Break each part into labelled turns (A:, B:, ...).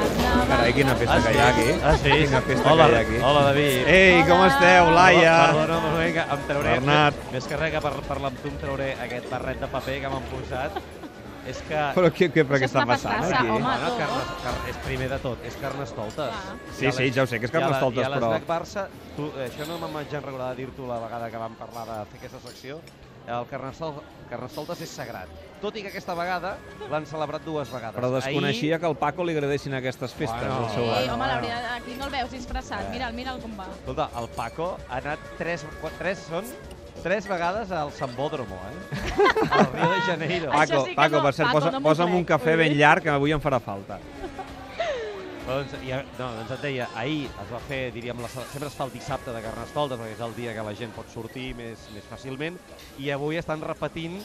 A: eh? Quina festa que hi ha aquí.
B: Ah, sí?
A: Quina festa
B: hola,
A: que hi ha aquí. Eh,
B: Hola, David.
A: Ei, com esteu, Laia?
B: Perdona, perdona, vinga, em trauré...
A: Bernat.
B: Més que res que per parlar amb tu em trauré aquest barret de paper que m'han posat. És que...
A: Però què, què, però què està
C: Això està
A: passant
C: passant,
A: aquí?
C: home.
B: Bueno,
C: tu.
B: carnes, car és primer de tot, és carnestoltes.
C: Clar.
A: Sí, sí, ja ho sé, que és Carnestoltes,
B: I a
A: però-
B: l'esnac Barça, tu, eh, això no me'n vaig enreglar de dir-t'ho la vegada que vam parlar de fer aquesta secció, el carnestol, carnestoltes és sagrat. Tot i que aquesta vegada l'han celebrat dues vegades.
A: Però desconeixia
B: Ahir,
A: que al Paco li agradessin aquestes festes.
B: Bueno.
A: al
C: Sí,
A: seu
B: bueno,
C: home, la
B: bueno.
C: veritat, aquí no el veus disfressat. Mira'l, mira'l com va.
B: escolta, el Paco ha anat tres, qu- tres són tres vegades al Sambódromo, eh? Al Rio de Janeiro.
C: Ai.
A: Paco,
C: sí que
A: Paco,
C: no,
A: per cert,
C: Paco,
A: posa,
C: no m'ho
A: posa'm un
C: crec.
A: cafè ben llarg, que avui em farà falta.
B: Doncs, ja, no, doncs et deia, ahir es va fer, diríem, la, cele- sempre es fa el dissabte de Carnestoltes, perquè és el dia que la gent pot sortir més, més fàcilment, i avui estan repetint,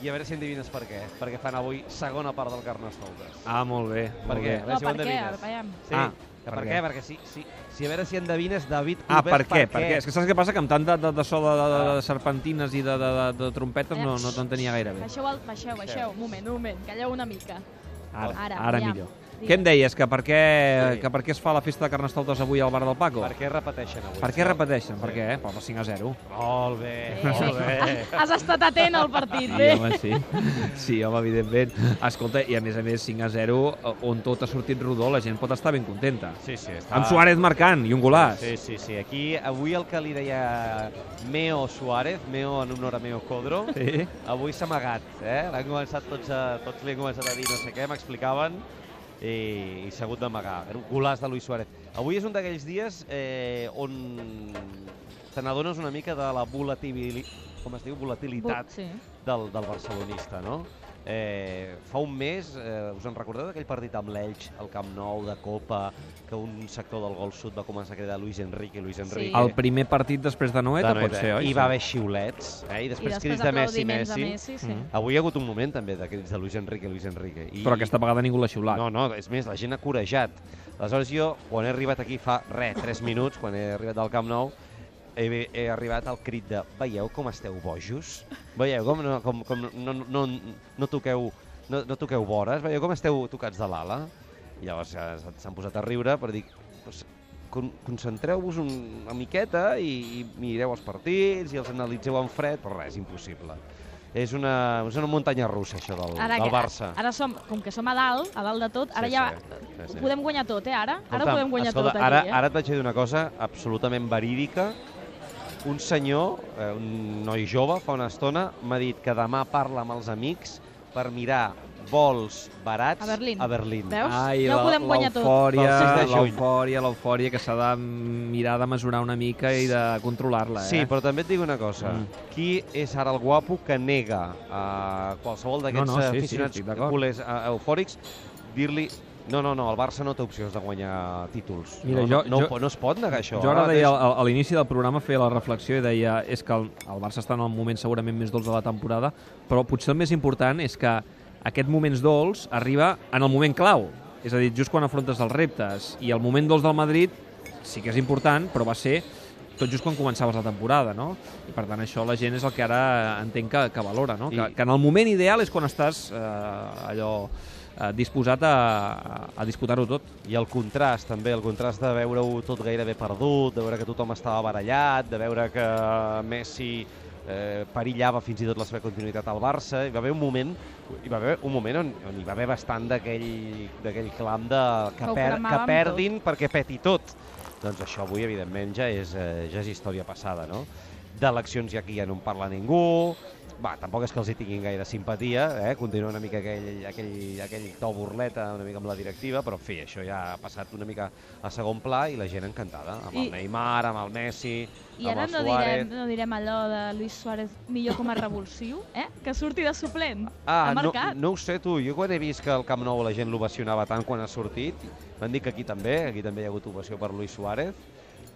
B: i a veure si endevines per què, perquè fan avui segona part del Carnestoltes.
A: Ah, molt bé.
B: per
A: molt bé.
B: què? A veure
C: No,
B: si ho
C: per què?
B: endevines.
C: Veiem.
B: Sí,
A: Ah,
B: que per,
A: per
B: què?
A: què?
B: Perquè si, si, si a veure si endevines David
A: Ah,
B: Cooper,
A: per què? Ah. Per què? És que saps què passa? Que amb tant de, de, de so de, de, de, de serpentines i de, de, de, de trompetes no, no t'entenia gaire bé.
C: Baixeu, el, baixeu, baixeu. Un moment, un moment. Calleu una mica.
A: Ara,
C: Ara,
A: ara
C: ja.
A: millor.
C: Digues.
A: Què em deies? Que per què,
B: Sí.
A: que per què es fa la festa de Carnestoltes avui al bar del Paco?
B: Per què repeteixen avui?
A: Per què repeteixen? Per què? eh? Per 5 a 0.
B: Molt bé,
C: Sí.
B: molt bé.
C: Has estat atent al partit,
A: Sí,
B: Ah,
C: eh? bé?
A: Ah,
B: eh.
A: home, sí. Sí, home, evidentment. Escolta, i a més a més, 5 a 0, eh, on tot ha sortit rodó, la gent pot estar ben contenta.
B: Sí, sí, està...
A: Amb Suárez marcant i un golaç.
B: Sí, sí, sí. Aquí, avui el que li deia Meo Suárez, Meo en honor a Meo Codro,
A: Sí.
B: avui s'ha amagat, eh? L'han començat tots, a, tots li han començat a dir no sé què, m'explicaven, i, i s'ha hagut d'amagar. Era un golaç de Luis Suárez. Avui és un d'aquells dies eh, on te n'adones una mica de la volatilitat, com es diu, volatilitat
C: Sí.
B: del, del barcelonista, no? Eh, fa un mes, eh, us en recordeu d'aquell partit amb l'Elx, al Camp Nou, de Copa, que un sector del gol sud va començar a cridar Luis Enrique, Luis Enrique.
A: El primer partit després de Noeta,
B: De
A: pot ser, oi?
B: I va haver xiulets, eh? I
C: I
B: després,
C: després
B: crits de Messi,
C: aplaudiments
B: Messi.
C: a Messi, sí.
A: Mm.
B: Avui hi ha hagut un moment també de crits de Luis Enrique, Luis Enrique. I,
A: Però aquesta vegada ningú l'ha xiulat.
B: No, no, és més, la gent ha corejat. Aleshores jo, quan he arribat aquí fa, res, 3 minuts, quan he arribat al Camp Nou, he, he arribat al crit de veieu com esteu bojos? Veieu com no, com, com no, no, no, no toqueu no, no toqueu vores? Veieu com esteu tocats de l'ala? I llavors ja s'han s'han posat a riure per dir pues, con concentreu-vos un, una miqueta i, i mireu els partits i els analitzeu en fred, però res, impossible. És una, és una muntanya russa, això del, del
C: que-
B: Barça.
C: Ara som, com que som a dalt, a dalt de tot, ara
B: Sí,
C: ja
B: sí, sí, sí.
C: ho podem guanyar tot, eh, ara? Ara
B: Escolta'm,
C: podem guanyar
B: escolta,
C: tot aquí,
B: ara,
C: eh?
B: Ara et vaig dir una cosa absolutament verídica. Un senyor, eh, un noi jove, fa una estona, m'ha dit que demà parla amb els amics per mirar vols barats
C: A Berlín.
B: A Berlín. Ah,
C: Veus? Ja ho
A: la-
C: podem guanyar tot.
A: l'eufòria,
B: Pel sis de juny.
A: l'eufòria, l'eufòria que s'ha de mirar de mesurar una mica i de controlar-la,
B: Sí,
A: eh?
B: però també et dic una cosa.
A: Mm.
B: Qui és ara el guapo que nega a qualsevol d'aquests eh,
A: No, no, sí, sí,
B: aficionats
A: estic d'acord.
B: culers eh, eufòrics dir-li no, no, no, el Barça no té opcions de guanyar títols.
A: Mira,
B: no, no,
A: jo-
B: no,
A: jo-
B: po- no es pot negar això. eh?
A: Jo ara
B: mateix-
A: deia, al- a l'inici del programa feia la reflexió i deia és que el, el Barça està en el moment segurament més dolç de la temporada, però potser el més important és que aquest moment dolç arriba en el moment clau, és a dir, just quan afrontes els reptes. I el moment dolç del Madrid sí que és important, però va ser tot just quan començaves la temporada, no? I per tant això la gent és el que ara entenc que, que valora, no? Que,
B: I-
A: que en el moment ideal és quan estàs eh, allò eh, disposat a, a- a disputar-ho tot.
B: I el contrast, també, el contrast de veure-ho tot gairebé perdut, de veure que tothom estava barallat, de veure que Messi eh, perillava fins i tot la seva continuïtat al Barça. Hi va haver un moment, hi va haver un moment on, on hi va haver bastant d'aquell d'aquell clam de que,
C: Que ho
B: per, que
C: clamàvem
B: perdin perquè peti tot. Doncs això avui, evidentment, ja és, eh, ja és història passada, no? D'eleccions ja aquí ja no en parla ningú, va, tampoc és que els hi tinguin gaire simpatia, eh? continua una mica aquell, aquell, aquell to burleta una mica amb la directiva, però en fi, això ja ha passat una mica a segon pla i la gent encantada, amb I...
C: I-
B: el Neymar, amb el Messi,
C: I
B: amb
C: ara
B: el
C: no
B: Suárez...
C: direm, no direm allò de Luis Suárez millor com a revulsiu, eh? Que surti de suplent.
B: Ah,
C: ha
B: no,
C: marcat.
B: no ho sé tu, jo quan he vist que al Camp Nou la gent l'ovacionava tant quan ha sortit, m'han dit que aquí també, aquí també hi ha hagut ovació per Luis Suárez,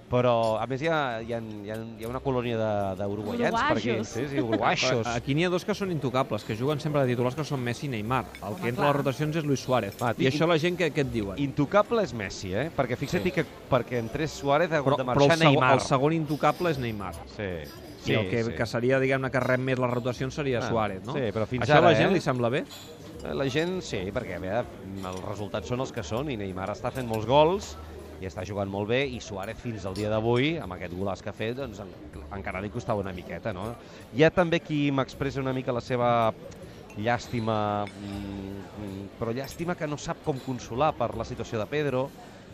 B: però a més hi ha, hi ha, hi ha, hi ha una colònia de- d'uruguaians per aquí,
C: Uruguaixos.
B: sí, sí, uruguaixos.
A: Aquí n'hi ha dos que són intocables, que juguen sempre de titulars que són Messi i Neymar. El que entra a les rotacions és Luis Suárez.
B: Va,
A: I això la gent que, que et diuen.
B: Intocable és Messi, eh? Perquè fixa't sí. que perquè entrés Suárez ha hagut
A: Però,
B: de
A: però el,
B: marxar
A: segon,
B: Neymar.
A: el segon intocable és Neymar.
B: Sí.
C: I
A: Sí, I el que, sí. que seria, diguem-ne, que rep més les rotacions seria
B: Ah,
A: Suárez, no?
B: sí, però fins
A: Això a
B: ara,
A: la gent
B: eh?
A: li sembla bé?
B: La gent, sí, perquè a veure, els resultats són els que són i Neymar està fent molts gols i està jugant molt bé i Suárez fins al dia d'avui, amb aquest golaç que ha fet, doncs en, encara li costava una miqueta, no? Hi ha també qui m'expressa una mica la seva llàstima, mm, mm, però llàstima que no sap com consolar per la situació de Pedro,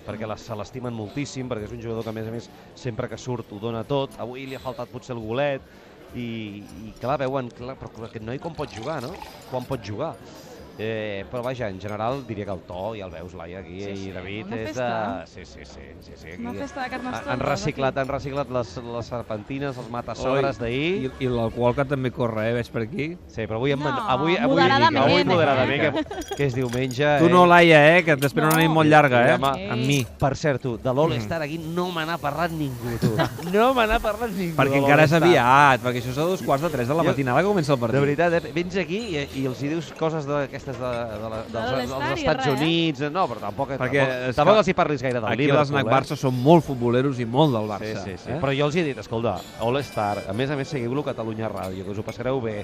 B: perquè la, se l'estimen moltíssim, perquè és un jugador que, a més a més, sempre que surt ho dona tot. Avui li ha faltat potser el golet, i, i clar, veuen, clar, però aquest noi com pot jugar, no? Quan pot jugar? Eh, però vaja, en general diria que el to, ja el veus, Laia, aquí,
C: Sí, sí,
B: i David,
C: una
B: és de...
C: festa.
B: Sí, sí, sí. sí, sí
C: Una
B: aquí-
C: festa de
B: han,
C: carnestoltes.
B: han reciclat, han reciclat les, les serpentines, els matasogres
A: I,
B: d'ahir.
A: i l'alcohol que també corre, eh? Veig per aquí.
B: Sí, però avui... amb-
C: No,
B: avui, avui,
C: moderadament,
B: avui
C: eh?
B: moderadament, que, que és diumenge.
A: Tu no, Laia, eh? Que t'espera una
C: No.
A: nit molt llarga, eh?
B: Demà.
A: Amb mi. Mm.
B: Per cert, tu, de l'All-Star aquí no me n'ha parlat ningú, tu. No me n'ha parlat ningú.
A: Perquè
B: de
A: encara és
B: l'All-Star.
A: aviat, perquè això és a dos quarts de tres de la
B: Jo-
A: matinada que comença el
B: De
A: partit.
B: veritat, eh? vens aquí i, i els hi dius coses d'aquestes de, de, la,
C: De
B: dels,
C: l'All-Star
B: dels
C: i
B: Estats
C: res.
B: Units. eh? No, però tampoc,
A: Perquè és
B: tampoc,
A: que
B: tampoc els hi parlis gaire del
A: Aquí
B: Liverpool. eh?
A: l'Snac Barça són molt futboleros i molt del Barça.
B: Sí, sí, sí.
A: Eh?
B: Però jo els he dit, escolta, All-Star, a més a més seguiu-lo a Catalunya Ràdio, que us ho passareu bé.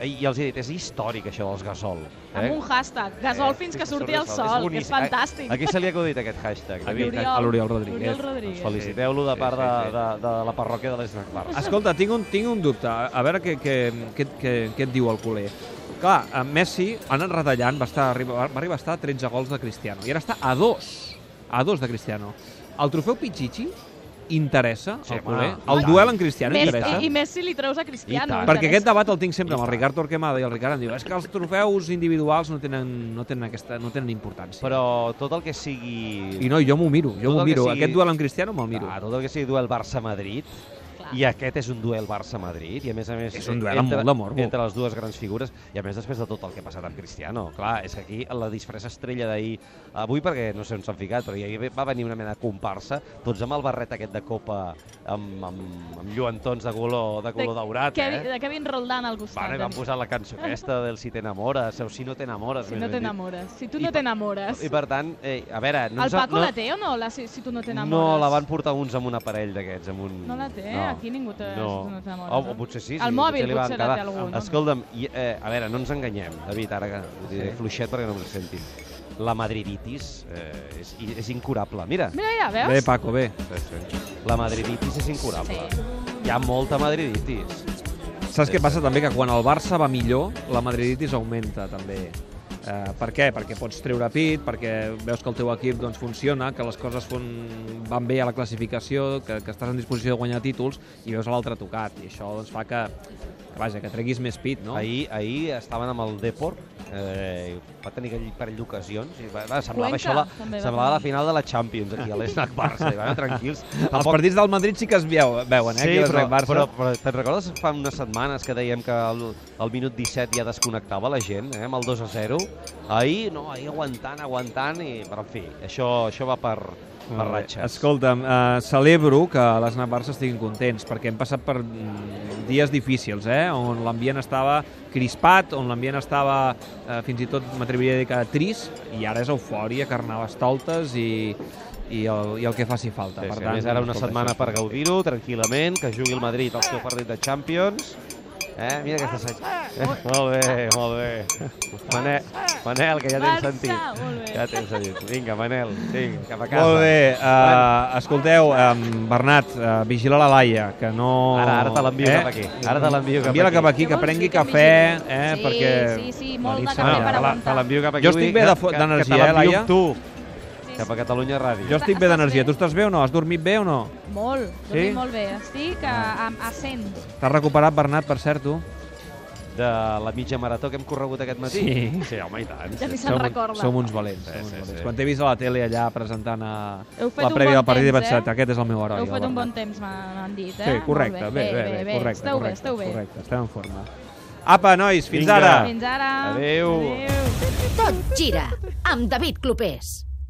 B: I els he dit, és històric això dels Gasol.
C: Amb un hashtag, gasol
B: Eh,
C: fins
B: sí,
C: que surti el
B: És
C: sol, que
B: boníssim.
C: és fantàstic.
B: A, a qui se li ha acudit aquest hashtag, David?
A: l'Oriol. a l'Oriol Rodríguez.
C: L'Oriol
B: Doncs
C: Rodríguez.
B: feliciteu-lo de
A: Sí,
B: part
A: sí,
B: de,
A: sí.
B: de, de la parròquia de l'Snac Barça.
A: Escolta, tinc un, tinc un dubte. A a veure què, què, què, què, què et diu el culer. Clar, a Messi ha anat retallant, va, estar, arriba- va arribar a estar a 13 gols de Cristiano. I ara està a dos, a dos de Cristiano. El trofeu Pichichi interessa
B: Sí,
A: al
B: home,
A: culer?
B: i
A: El
B: tant.
A: duel en Cristiano
C: Més,
A: interessa?
C: i, I més si li treus a Cristiano.
B: I tant.
A: Perquè aquest
C: interessa.
A: debat el tinc sempre
B: I
A: amb el
B: tant.
A: Ricard Torquemada i el Ricard em diu és que els trofeus individuals no tenen, no tenen, aquesta, no tenen importància.
B: Però tot el que sigui...
A: I no, jo m'ho miro, jo
B: Tot
A: m'ho
B: el que
A: miro.
B: sigui-
A: Aquest duel amb Cristiano me'l miro.
B: Ah, tot el que sigui duel Barça-Madrid,
C: Clar.
B: i aquest és un duel Barça-Madrid, i a més a més...
A: És un duel amb molt de morbo.
B: Entre les dues grans figures, i a més després de tot el que ha passat amb Cristiano. Clar, és que aquí la disfressa estrella d'ahir, avui perquè no sé on s'han ficat, però ahir va venir una mena de comparsa, tots amb el barret aquest de copa, amb, amb, amb lluentons de color, de color daurat,
C: Kevin,
B: eh?
C: De Kevin Roldán al costat.
B: Bueno, i van
C: doncs.
B: posar la cançó aquesta del Si t'enamores, o Si no t'enamores.
C: Si
B: més
C: no
B: ben dit.
C: t'enamores. Si tu
B: I
C: no
B: per-
C: t'enamores.
B: I per tant, eh, a veure... No
C: El
B: ens ha-
C: Paco
B: no,
C: la té o no, la, si, si tu no t'enamores?
B: No, la van portar uns amb un aparell d'aquests, amb un...
C: No la té, aquí ningú té- si tu no t'enamores,
B: O, o
C: eh?
B: potser sí, sí
C: Al mòbil
B: li van
C: potser la té
B: quedar.
C: algú, no?
B: Escolta'm, i, eh, a veure, no ens enganyem, David, ara que ho diré
A: Sí.
B: fluixet perquè no ens sentin. La madriditis eh, és, i- és incurable, mira.
C: Mira, ja, veus?
A: Bé, Paco, bé.
B: La madriditis és incurable.
C: Sí.
B: Hi ha molta madriditis.
A: Saps què passa també? Que quan el Barça va millor, la madriditis augmenta també. Eh, per què? Perquè pots treure pit, perquè veus que el teu equip doncs, funciona, que les coses fon... van bé a la classificació, que, que estàs en disposició de guanyar títols i veus l'altre tocat. I això doncs, fa que, que, vaja, que treguis més pit, no?
B: Ahir, ahir estaven amb el Depor, eh, va tenir aquell parell d'ocasions, i va, va, semblava,
C: Cuenca,
B: això la,
C: també va
B: semblava la
C: tenir.
B: final de la Champions aquí a l'Esnac Barça, i van tranquils.
A: Els partits del Madrid sí que es veu, veuen, eh?
B: Sí,
A: Aquí a
B: però,
A: l'Snac Barça.
B: però, però te'n recordes fa unes setmanes que dèiem que el, el minut 17 ja desconnectava la gent, eh, amb el 2 a 0? Ahir, no, ahir aguantant, aguantant, i, però en fi, això, això va per, per
A: Molt bé.
B: ratxes.
A: Escolta'm, eh, celebro que les Barça estiguin contents, perquè hem passat per mm, dies difícils, eh? on l'ambient estava crispat, on l'ambient estava, eh, fins i tot m'atreviria a dir que trist, i ara és eufòria, carnavestoltes i, i, el, i el que faci falta.
B: Sí, sí, a més, ara una
A: doncs, escolta,
B: setmana
A: això
B: per
A: és fantàstic.
B: gaudir-ho, tranquil·lament, que jugui el Madrid al seu partit de Champions. Eh? Mira aquesta set... Eh? Molt bé, molt bé. Manel, Manel, que ja tens
C: Barça,
B: sentit.
C: molt bé.
B: Ja tens sentit. Vinga, Manel, vinga, cap a casa.
A: Molt bé, eh, escolteu, eh, Bernat, eh, vigila la Laia, que no... eh,
B: Ara- ara te l'envio cap aquí, ara te l'envio cap
A: Envia-la
B: aquí.
A: cap aquí,
C: Què
A: que
C: vols
A: prengui
C: dir que em
A: cafè,
C: vigili?
A: eh,
C: Sí,
A: perquè...
C: sí, sí,
A: la
C: molt
A: nit
C: de
A: se
C: cafè
A: n'anirà.
B: te
C: per
B: la-
C: aguantar.
B: te l'envio cap aquí.
A: Jo estic
B: vull
A: bé
B: que-
A: de fo-
B: que-
A: d'energia,
B: que te
A: eh,
B: l'envio
A: Laia?
B: amb tu,
C: Sí,
B: cap a
C: sí.
B: Catalunya Ràdio.
A: Jo estic bé
C: Estàs
A: d'energia.
C: bé?
A: Tu estàs bé o no? Has dormit bé o no?
C: Molt,
A: Sí?
C: sí? molt bé. Estic eh, a, a, a 100.
A: T'has recuperat, Bernat, per cert, tu?
B: De la mitja marató que hem corregut aquest matí.
A: Sí.
B: sí home, i tant.
C: Ja
B: Sí,
C: ni
B: sí.
C: se'n recorda.
A: Som uns valents. eh?
B: Sí,
A: som uns
B: sí,
A: valents.
B: sí.
A: Quan t'he vist a la tele allà presentant a...
C: Heu fet
A: la
C: un
A: prèvia
C: bon
A: del partit,
C: temps,
A: vaig
C: eh?
A: pensar, aquest és el meu heroi.
C: Heu
A: el
C: fet un
A: Bernat."
C: bon temps, m'han m'han dit, eh?
A: Sí, correcte,
C: Molt
A: bé, bé, bé, correcte,
C: esteu
A: correcte,
C: bé, esteu bé.
A: Correcte, estem en forma. Apa, nois, fins
B: Vinga.
A: ara!
C: Fins ara.
B: Adéu.
C: Adéu.
D: Tot gira amb David Clopés.